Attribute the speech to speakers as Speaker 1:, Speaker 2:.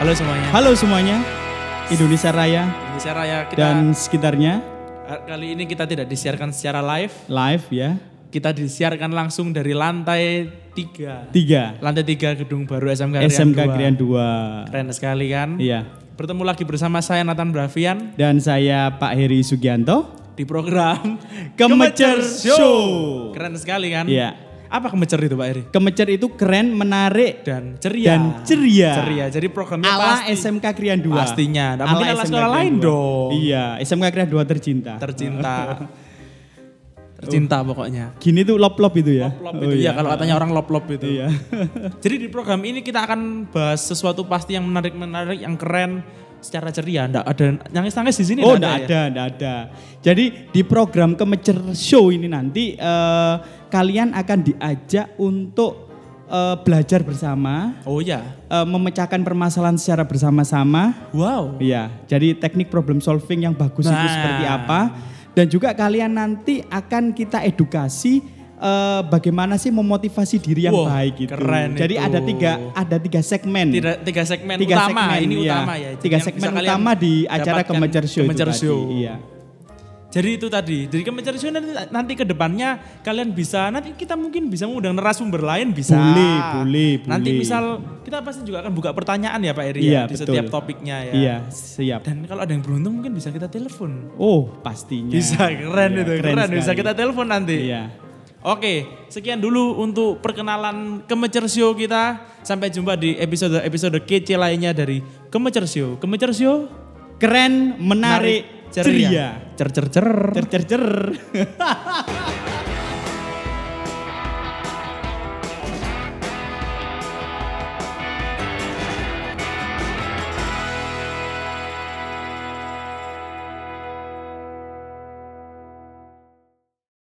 Speaker 1: Halo semuanya.
Speaker 2: Halo semuanya, Indonesia Raya
Speaker 1: Indonesia Raya kita
Speaker 2: dan sekitarnya
Speaker 1: kali ini kita tidak disiarkan secara live,
Speaker 2: live ya.
Speaker 1: kita disiarkan langsung dari lantai 3.
Speaker 2: Tiga,
Speaker 1: Lantai 3 gedung baru SMK Krian
Speaker 2: SMK
Speaker 1: 2.
Speaker 2: Krian 2.
Speaker 1: Keren sekali kan?
Speaker 2: Iya.
Speaker 1: Bertemu lagi bersama saya Nathan Bravian
Speaker 2: Dan saya Pak Heri Sugianto,
Speaker 1: di program
Speaker 2: Kemecer Show.
Speaker 1: Keren sekali kan?
Speaker 2: Iya.
Speaker 1: Apa kemecer itu Pak Eri?
Speaker 2: Kemecer itu keren, menarik,
Speaker 1: Dan ceria.
Speaker 2: Dan ceria.
Speaker 1: Iya. Ceria. Jadi programnya
Speaker 2: ala
Speaker 1: pasti
Speaker 2: SMK Krian 2.
Speaker 1: Pastinya. Nggak mungkin ala sekolah
Speaker 2: Krian
Speaker 1: lain
Speaker 2: 2.
Speaker 1: dong.
Speaker 2: Iya, SMK Krian 2 tercinta.
Speaker 1: tercinta. tercinta pokoknya.
Speaker 2: Gini tuh lop-lop itu ya.
Speaker 1: Lop
Speaker 2: Oh
Speaker 1: itu ya kalau katanya orang lop-lop itu.
Speaker 2: Iya.
Speaker 1: Jadi di program ini kita akan bahas sesuatu pasti yang menarik-menarik, yang keren secara ceria. Nggak ada nangis-nangis di sini. nggak
Speaker 2: oh, enggak
Speaker 1: ya?
Speaker 2: ada, enggak ada. Jadi di program Kemecer Show ini nanti eh, kalian akan diajak untuk eh, belajar bersama,
Speaker 1: Oh ya.
Speaker 2: eh, memecahkan permasalahan secara bersama-sama.
Speaker 1: Wow.
Speaker 2: Iya, jadi teknik problem solving yang bagus itu
Speaker 1: Nah.
Speaker 2: seperti apa dan juga kalian nanti akan kita edukasi eh, bagaimana sih memotivasi diri yang
Speaker 1: Wah,
Speaker 2: baik itu.
Speaker 1: keren
Speaker 2: jadi
Speaker 1: itu.
Speaker 2: ada tiga ada tiga segmen.
Speaker 1: Tiga, tiga segmen
Speaker 2: Tiga
Speaker 1: utama
Speaker 2: segmen,
Speaker 1: ini
Speaker 2: iya.
Speaker 1: utama ya. Jadi
Speaker 2: Tiga
Speaker 1: yang
Speaker 2: segmen
Speaker 1: bisa kalian
Speaker 2: utama di acara
Speaker 1: dapatkan
Speaker 2: Kemecer Show itu
Speaker 1: Kemecer
Speaker 2: tadi,
Speaker 1: Show.
Speaker 2: iya.
Speaker 1: Jadi itu tadi. Jadi Kemecer Show nanti, nanti ke depannya kalian bisa nanti kita mungkin bisa mengundang narasumber lain bisa.
Speaker 2: Boleh, boleh,
Speaker 1: Nanti
Speaker 2: boleh.
Speaker 1: misal kita pasti juga akan buka pertanyaan ya Pak Eri ya,
Speaker 2: Iya,
Speaker 1: di
Speaker 2: betul.
Speaker 1: setiap topiknya ya.
Speaker 2: Iya, siap.
Speaker 1: Dan kalau ada yang beruntung mungkin bisa kita telepon.
Speaker 2: Oh, pastinya.
Speaker 1: Bisa keren
Speaker 2: Iya,
Speaker 1: itu, keren, bisa
Speaker 2: sekali.
Speaker 1: kita telepon nanti.
Speaker 2: Iya.
Speaker 1: Oke, sekian dulu untuk perkenalan Kemecer Show kita. Sampai jumpa di episode-episode kece lainnya dari Kemecer Show. Kemecer Show,
Speaker 2: Keren, menarik, ceria.
Speaker 1: Cer cer cer.
Speaker 2: Cer cer cer.